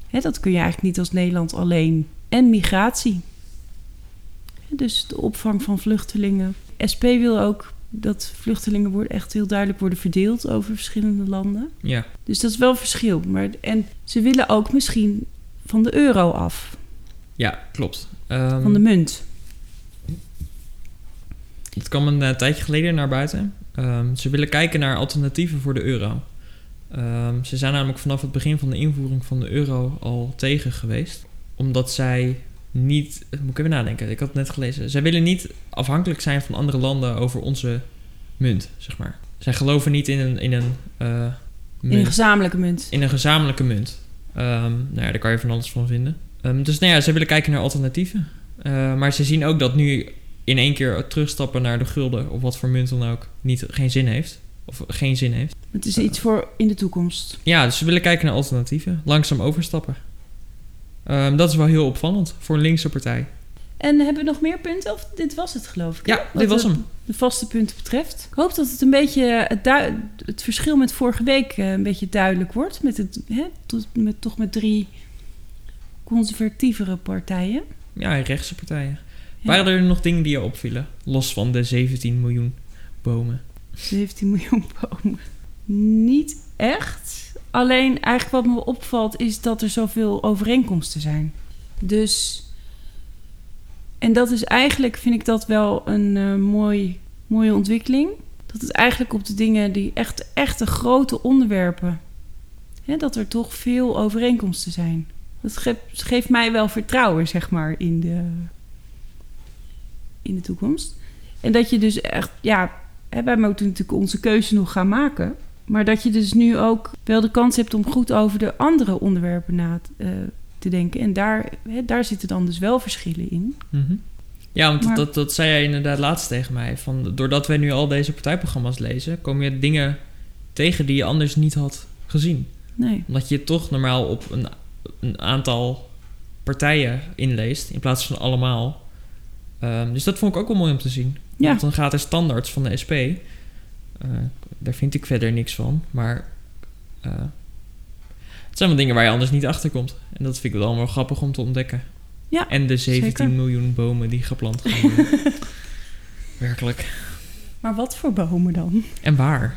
Hè, dat kun je eigenlijk niet als Nederland alleen. En migratie. Hè, Dus de opvang van vluchtelingen. SP wil ook dat vluchtelingen worden, echt heel duidelijk worden verdeeld over verschillende landen.
Ja,
Dus dat is wel een verschil. Maar, en ze willen ook misschien van de euro af.
ja klopt. Ehm,
Van de munt.
Het kwam een eh, tijdje geleden naar buiten. Ehm, ze willen kijken naar alternatieven voor de euro. Ehm, ze zijn namelijk vanaf het begin van de invoering van de euro al tegen geweest. Omdat zij niet... eh, Moet ik even nadenken, ik had het net gelezen. Zij willen niet afhankelijk zijn van andere landen over onze munt, zeg maar. Zij geloven niet in een, in een eh,
In een
munt
gezamenlijke munt.
in een gezamenlijke munt. Ehm, nou ja, daar kan je van alles van vinden. Ehm, dus nou ja, ze willen kijken naar alternatieven. Eh, maar ze zien ook dat nu in één keer terugstappen naar de gulden... of wat voor munt dan ook, niet, geen zin heeft. Of geen zin heeft.
Het is iets voor in de toekomst.
Ja, dus ze willen kijken naar alternatieven. Langzaam overstappen. Ehm, dat is wel heel opvallend voor een linkse partij.
En hebben we nog meer punten? Of dit was het, geloof ik? hè?
Ja,
Wat eh,
dit was
de-
hem.
De vaste punten betreft. Ik hoop dat het een beetje het, dui- het verschil met vorige week eh, een beetje duidelijk wordt. Met het, hè, tot- met, toch met drie conservatievere partijen.
Ja, en rechtse partijen.
Ja.
Waren er nog dingen die je opvielen? Los van de 17 miljoen bomen.
17 miljoen bomen. Niet echt. Alleen eigenlijk wat me opvalt is dat er zoveel overeenkomsten zijn. Dus. En dat is eigenlijk, vind ik dat wel een eh, mooi, mooie ontwikkeling. Dat het eigenlijk op de dingen die echt, echt de grote onderwerpen. Hè, dat er toch veel overeenkomsten zijn. Dat ge- geeft mij wel vertrouwen, zeg maar, in de, in de toekomst. En dat je dus echt, ja, hè, wij moeten natuurlijk onze keuze nog gaan maken. Maar dat je dus nu ook wel de kans hebt om goed over de andere onderwerpen na te, eh, te denken. En daar, hè, daar zitten dan dus wel verschillen in.
Mhm. Ja, want
Maar-
dat, dat zei jij inderdaad laatst tegen mij. Van, doordat wij nu al deze partijprogramma's lezen, kom je dingen tegen die je anders niet had gezien.
Nee.
Omdat je toch normaal op een, een aantal partijen inleest, in plaats van allemaal. Ehm, dus dat vond ik ook wel mooi om te zien.
Ja.
Want dan gaat er standaards van de SP. eh, daar vind ik verder niks van. Maar eh, het zijn wel dingen waar je anders niet achter komt. En dat vind ik wel allemaal grappig om te ontdekken.
Ja,
En de 17
zeker.
miljoen bomen die geplant gaan worden. Werkelijk.
Maar wat voor bomen dan?
En waar?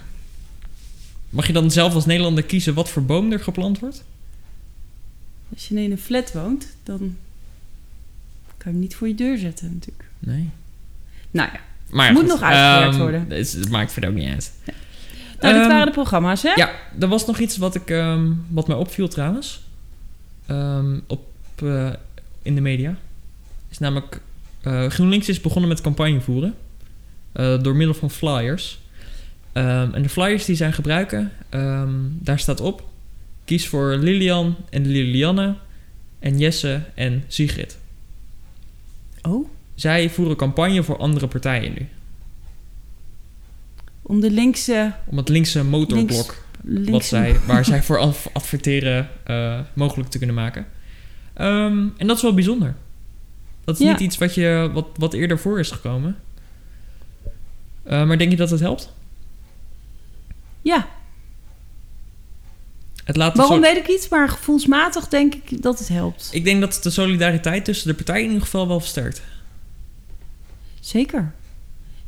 Mag je dan zelf als Nederlander kiezen wat voor boom er geplant wordt?
Als je in een flat woont, dan kan je hem niet voor je deur zetten natuurlijk.
Nee.
Nou ja,
Maar ja,
Moet
goed,
nog uitgewerkt
ehm,
worden.
Het, het maakt verder ook niet uit.
nou, dit
Ehm,
waren de programma's, hè?
Ja, er was nog iets wat, ik, ehm, wat mij opviel trouwens. Ehm, op, eh, in de media. Is namelijk. eh, GroenLinks is begonnen met campagne voeren. eh, door middel van flyers. Ehm, en de flyers die zij gebruiken, ehm, daar staat op: kies voor Lilian en Lilianne en Jesse en Sigrid.
Oh,
Zij voeren campagne voor andere partijen nu.
om de linkse...
Om het linkse motorblok.
Links- linkse
wat zij, waar zij voor af- adverteren eh, mogelijk te kunnen maken. Ehm, en dat is wel bijzonder. Dat is
Ja.
niet iets wat, je, wat, wat eerder voor is gekomen. Eh, maar denk je dat het helpt?
Ja,
Het laat de
waarom
so-
weet ik niet, maar gevoelsmatig denk ik dat het helpt.
Ik denk dat het de solidariteit tussen de partijen in ieder geval wel versterkt.
Zeker.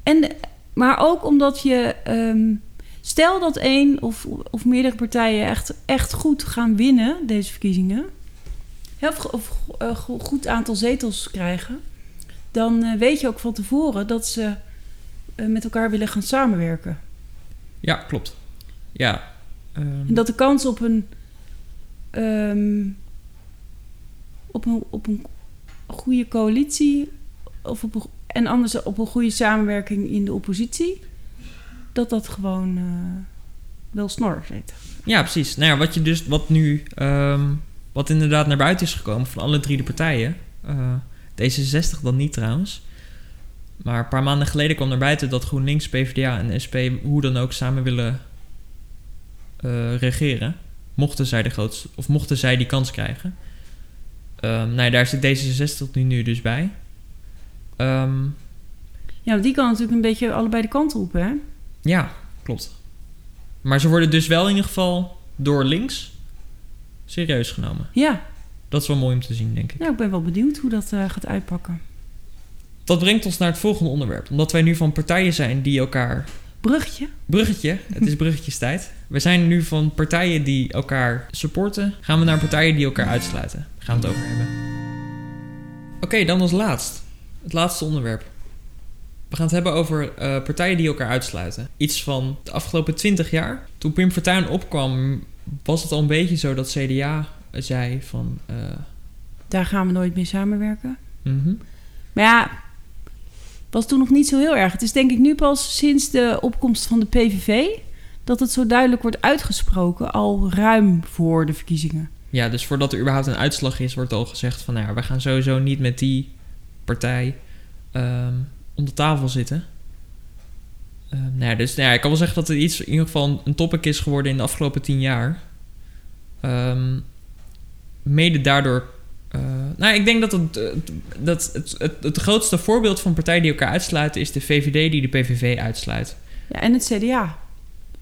En, maar ook omdat je. ehm, stel dat één of, of meerdere partijen echt, echt goed gaan winnen deze verkiezingen. hè, Of, of eh, go- goed aantal zetels krijgen. Dan eh, weet je ook van tevoren dat ze eh, met elkaar willen gaan samenwerken.
Ja, klopt. Ja. Ehm,
En dat de kans op een. ehm, op een, op een goede coalitie. Of op een, en anders op een goede samenwerking in de oppositie. Dat dat gewoon eh, wel snor zit.
Ja, precies. Nou ja, wat je dus, wat nu, ehm, wat inderdaad naar buiten is gekomen van alle drie de partijen. eh, D66 dan niet trouwens. Maar een paar maanden geleden kwam naar buiten dat GroenLinks, PvdA en SP hoe dan ook samen willen eh, regeren. Mochten zij de grootste, of mochten zij die kans krijgen. Ehm nou ja, daar zit D66 nu, nu dus bij. Ehm,
Ja, want die kan natuurlijk een beetje allebei de kanten op, hè?
ja, klopt. Maar ze worden dus wel in ieder geval door links serieus genomen.
Ja,
Dat is wel mooi om te zien, denk ik.
nou, ik ben wel benieuwd hoe dat eh, gaat uitpakken.
Dat brengt ons naar het volgende onderwerp. Omdat wij nu van partijen zijn die elkaar...
Bruggetje.
Bruggetje, het is bruggetjestijd. We zijn nu van partijen die elkaar supporten... gaan we naar partijen die elkaar uitsluiten. Daar gaan we het over hebben. Oké, dan als laatst. Het laatste onderwerp. We gaan het hebben over eh, partijen die elkaar uitsluiten. Iets van de afgelopen 20 jaar. Toen Pim Fortuyn opkwam, was het al een beetje zo dat CDA zei van... eh,
daar gaan we nooit mee samenwerken.
Mhm.
Maar ja, was toen nog niet zo heel erg. Het is denk ik nu pas sinds de opkomst van de PVV dat het zo duidelijk wordt uitgesproken, al ruim voor de verkiezingen.
Ja, dus voordat er überhaupt een uitslag is, wordt al gezegd van... Nou ja, we gaan sowieso niet met die partij ehm, om de tafel zitten. Ehm, nou ja, dus nou ja, ik kan wel zeggen dat het iets, in ieder geval een- een topic is geworden in de afgelopen tien jaar. Ehm, mede daardoor... eh, nou, ik denk dat, het, eh, dat het, het, het grootste voorbeeld van partijen die elkaar uitsluiten... is de VVD die de PVV uitsluit.
Ja, en het CDA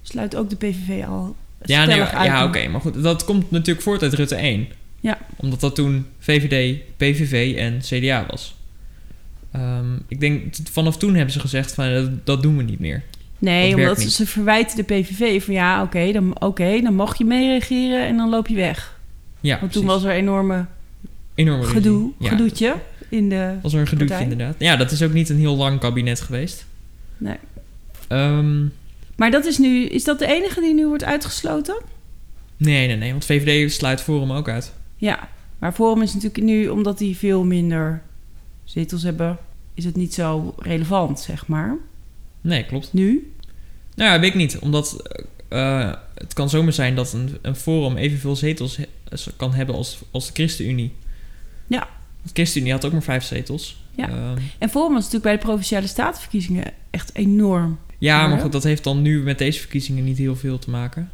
sluit ook de PVV al
Ja, nee,
stellig
maar-
uit.
ja oké, maar goed, dat komt natuurlijk voort uit Rutte 1.
Ja.
Omdat dat toen VVD, PVV en CDA was. Ehm, ik denk, t- vanaf toen hebben ze gezegd van dat, dat doen we niet meer.
Nee,
Dat werkt
omdat ze-
niet.
ze verwijten de PVV van ja, oké, dan, oké, dan mag je meeregeren en dan loop je weg.
Ja,
Want toen was er enorme
enorm
gedoe, gedoetje in de...
Was er een gedoetje
Partij.
inderdaad. Ja, dat is ook niet een heel lang kabinet geweest.
Nee.
Ehm,
Maar dat is nu, is dat de enige die nu wordt uitgesloten?
nee, nee, nee, want VVD sluit Forum ook uit.
Ja, maar Forum is natuurlijk nu, omdat die veel minder zetels hebben, is het niet zo relevant, zeg maar.
Nee, klopt.
Nu?
Nou ja, weet ik niet. Omdat eh, het kan zomaar zijn dat een, een forum evenveel zetels he- kan hebben als, als de ChristenUnie.
Ja.
De ChristenUnie had ook maar vijf zetels.
Ja.
Ehm,
En Forum was natuurlijk bij de Provinciale Statenverkiezingen echt enorm.
ja, maar
Maar-
goed, dat heeft dan nu met deze verkiezingen niet heel veel te maken.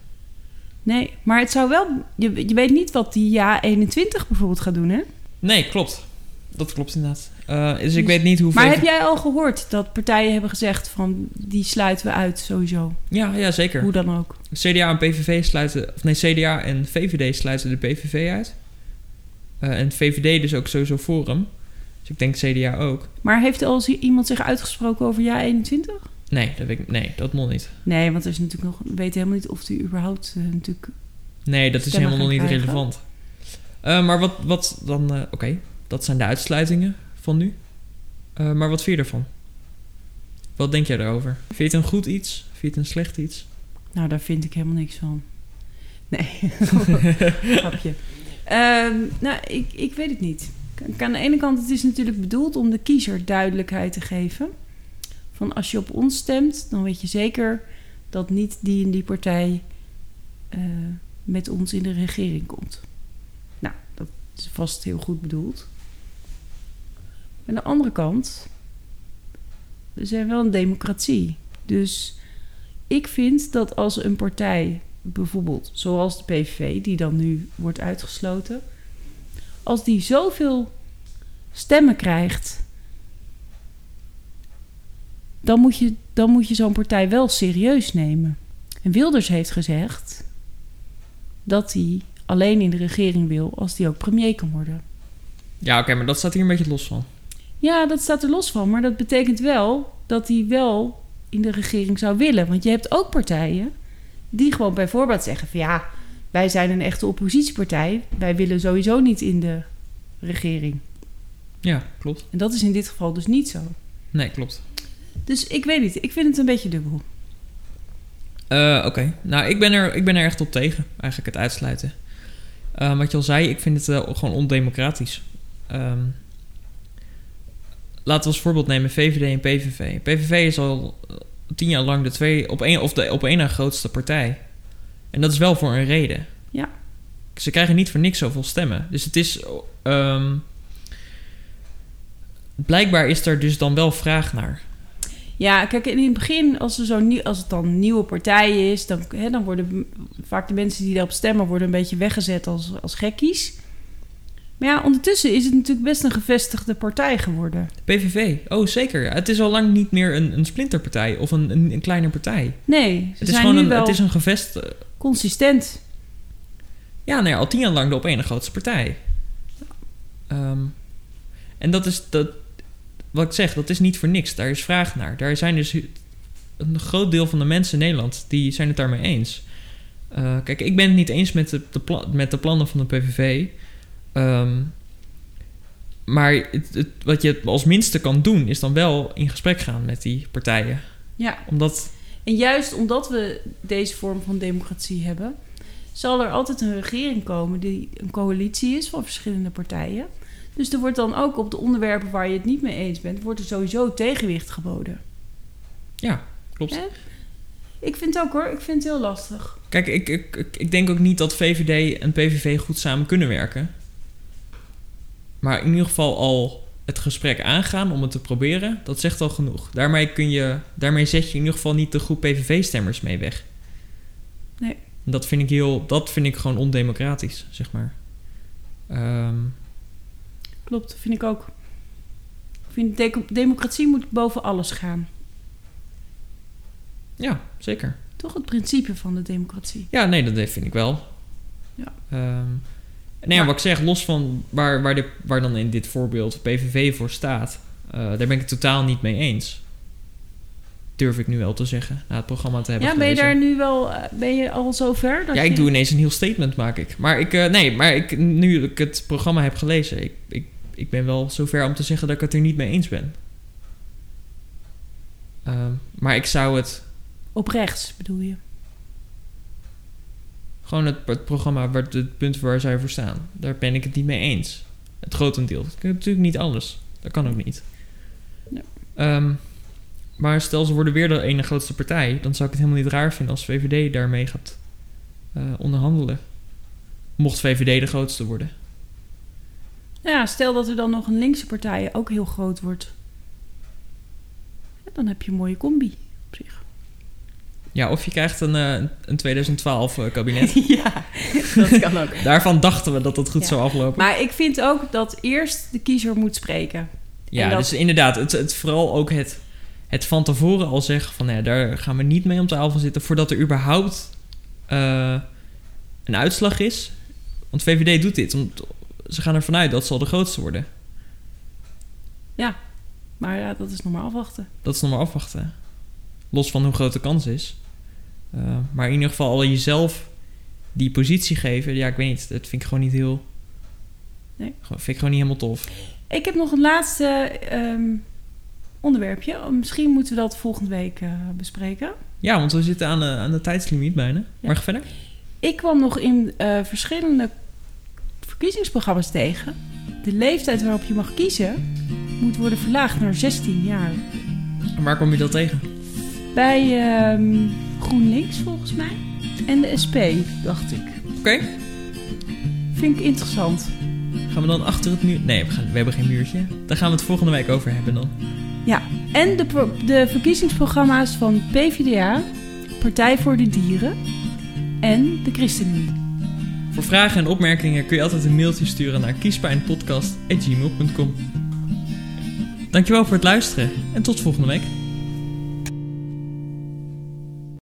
Nee, maar het zou wel, je, je weet niet wat die Ja 21 bijvoorbeeld gaat doen, hè?
Nee, klopt. Dat klopt inderdaad. Eh, dus ik
Dus-
weet niet hoeveel...
Maar heb jij al gehoord dat partijen hebben gezegd van die sluiten we uit sowieso,
Ja, ja, zeker.
hoe dan ook?
CDA en PVV sluiten... Of nee, CDA en VVD sluiten de PVV uit. Eh, en VVD dus ook sowieso Forum. Dus ik denk CDA ook.
Maar heeft al zie- iemand zich uitgesproken over Ja 21?
Nee, dat, weet ik, nee, dat nog niet.
Nee, want er is natuurlijk nog, we weten helemaal niet of die überhaupt eh, natuurlijk.
Nee, dat is
stemmen
helemaal nog niet
gaan krijgen.
relevant. Eh, maar wat, wat dan... eh, Oké, dat zijn de uitsluitingen van nu. Eh, maar wat vind je ervan? Wat denk jij daarover? Vind je het een goed iets? Vind je het een slecht iets?
Nou, daar vind ik helemaal niks van. Nee, grapje. Ehm, nou, ik, ik weet het niet. Kijk, Aan de ene kant, het is natuurlijk bedoeld om de kiezer duidelijkheid te geven. Van als je op ons stemt, dan weet je zeker dat niet die en die partij eh, met ons in de regering komt. Nou, dat is vast heel goed bedoeld. Aan de andere kant, we zijn wel een democratie. Dus ik vind dat als een partij, bijvoorbeeld zoals de PVV, die dan nu wordt uitgesloten, als die zoveel stemmen krijgt, dan moet je, dan moet je zo'n partij wel serieus nemen. En Wilders heeft gezegd dat hij alleen in de regering wil als hij ook premier kan worden.
Ja, oké, maar dat staat hier een beetje los van.
Ja, dat staat er los van. Maar dat betekent wel dat hij wel in de regering zou willen. Want je hebt ook partijen die gewoon bij voorbaat zeggen van ja, wij zijn een echte oppositiepartij. Wij willen sowieso niet in de regering.
Ja, klopt.
En dat is in dit geval dus niet zo.
Nee, klopt.
Dus ik weet niet. Ik vind het een beetje dubbel.
Eh, oké, nou, ik ben, er, ik ben er echt op tegen, eigenlijk, het uitsluiten. Eh, wat je al zei, ik vind het eh, gewoon ondemocratisch. Ehm, laten we als voorbeeld nemen VVD en PVV. PVV is al eh, tien jaar lang de twee op één, of de op één na grootste partij. En dat is wel voor een reden.
Ja.
Ze krijgen niet voor niks zoveel stemmen. Dus het is. ehm, blijkbaar is er dus dan wel vraag naar.
Ja, kijk, in het begin, als, er zo nieuw, als het dan een nieuwe partij is, dan, hè, dan worden m- vaak de mensen die daarop stemmen worden een beetje weggezet als, als gekkies. Maar ja, ondertussen is het natuurlijk best een gevestigde partij geworden.
PVV, oh zeker. ja. Het is al lang niet meer een, een splinterpartij of een, een, een kleine partij.
Nee, ze
Het is
zijn
gewoon
nu
een,
wel
het is een gevest. eh,
consistent.
Ja, nou ja, al tien jaar lang de op één grootste partij. Ehm, en dat is dat, wat ik zeg, dat is niet voor niks. Daar is vraag naar. Daar zijn dus hu- een groot deel van de mensen in Nederland die zijn het daarmee eens. Eh, kijk, ik ben het niet eens met de, de pla- met de plannen van de PVV. Ehm, maar het- het- wat je als minste kan doen, is dan wel in gesprek gaan met die partijen.
Ja,
Omdat,
en juist omdat we deze vorm van democratie hebben, zal er altijd een regering komen die een coalitie is van verschillende partijen. Dus er wordt dan ook op de onderwerpen waar je het niet mee eens bent, wordt er sowieso tegenwicht geboden.
Ja, klopt.
Hè? Ik vind het ook hoor, ik vind het heel lastig.
Kijk, ik, ik, ik, ik denk ook niet dat VVD en PVV goed samen kunnen werken. Maar in ieder geval al het gesprek aangaan om het te proberen, dat zegt al genoeg. Daarmee, kun je, daarmee zet je in ieder geval niet de groep PVV-stemmers mee weg.
Nee.
En Dat vind ik, heel, dat vind ik gewoon ondemocratisch, zeg maar. Ehm,
Klopt, vind ik ook. Ik vind de- democratie moet boven alles gaan.
ja, zeker.
Toch het principe van de democratie.
Ja, nee, dat vind ik wel.
Ja.
Ehm, nee,
Maar-
wat ik zeg, los van waar, waar, de, waar dan in dit voorbeeld PVV voor staat, eh, daar ben ik het totaal niet mee eens. Durf ik nu wel te zeggen, na het programma te hebben
Ja, ben je
gelezen.
daar nu wel, eh, ben je al zover? Dat
Ja, ik
je-
doe ineens een heel statement, maak ik. Maar ik, eh, nee, maar ik, nu ik het programma heb gelezen, ik, ik, ik ben wel zover om te zeggen dat ik het er niet mee eens ben. Ehm, maar ik zou het
Op rechts bedoel je.
Gewoon het, het programma, waar, het punt waar zij voor staan. Daar ben ik het niet mee eens. Het grotendeel. Dat kan natuurlijk niet alles. Dat kan ook niet.
Ja.
Ehm, maar stel ze worden weer de ene grootste partij... dan zou ik het helemaal niet raar vinden als VVD daarmee gaat eh, onderhandelen. Mocht VVD de grootste worden.
Ja, stel dat er dan nog een linkse partij ook heel groot wordt. Ja, dan heb je een mooie combi op zich.
Ja, of je krijgt een, eh, een 2012 eh, kabinet.
ja, dat kan ook.
Daarvan dachten we dat dat goed
Ja.
zou aflopen.
Maar ik vind ook dat eerst de kiezer moet spreken.
Ja,
En dat-
dus inderdaad, het, het, vooral ook het, het van tevoren al zeggen van... Nou ja, daar gaan we niet mee om tafel zitten... voordat er überhaupt eh, een uitslag is. Want VVD doet dit. Omdat ze gaan ervan uit dat ze al de grootste worden.
Maar ja, dat is nog maar afwachten.
Dat is nog maar afwachten. Los van hoe groot de kans is. Eh, maar in ieder geval al jezelf die positie geven... ja, ik weet niet, dat vind ik gewoon niet heel...
Nee.
gewoon- Vind ik gewoon niet helemaal tof.
Ik heb nog een laatste ehm, onderwerpje. Misschien moeten we dat volgende week eh, bespreken.
Ja, want we zitten aan de, aan de tijdslimiet bijna. Maar ga verder.
Ik kwam nog in eh, verschillende verkiezingsprogramma's tegen. De leeftijd waarop je mag kiezen moet worden verlaagd naar 16 jaar.
En waar kom je dat tegen?
Bij ehm, GroenLinks volgens mij. En de SP, dacht ik.
Oké.
Vind ik interessant.
Gaan we dan achter het muur? Nee, we, gaan, we hebben geen muurtje. Daar gaan we het volgende week over hebben dan.
Ja, en de, pro- de verkiezingsprogramma's van PvdA, Partij voor de Dieren en de ChristenUnie.
Voor vragen en opmerkingen kun je altijd een mailtje sturen naar kiespijnpodcast.gmail.com Dankjewel voor het luisteren en tot volgende week.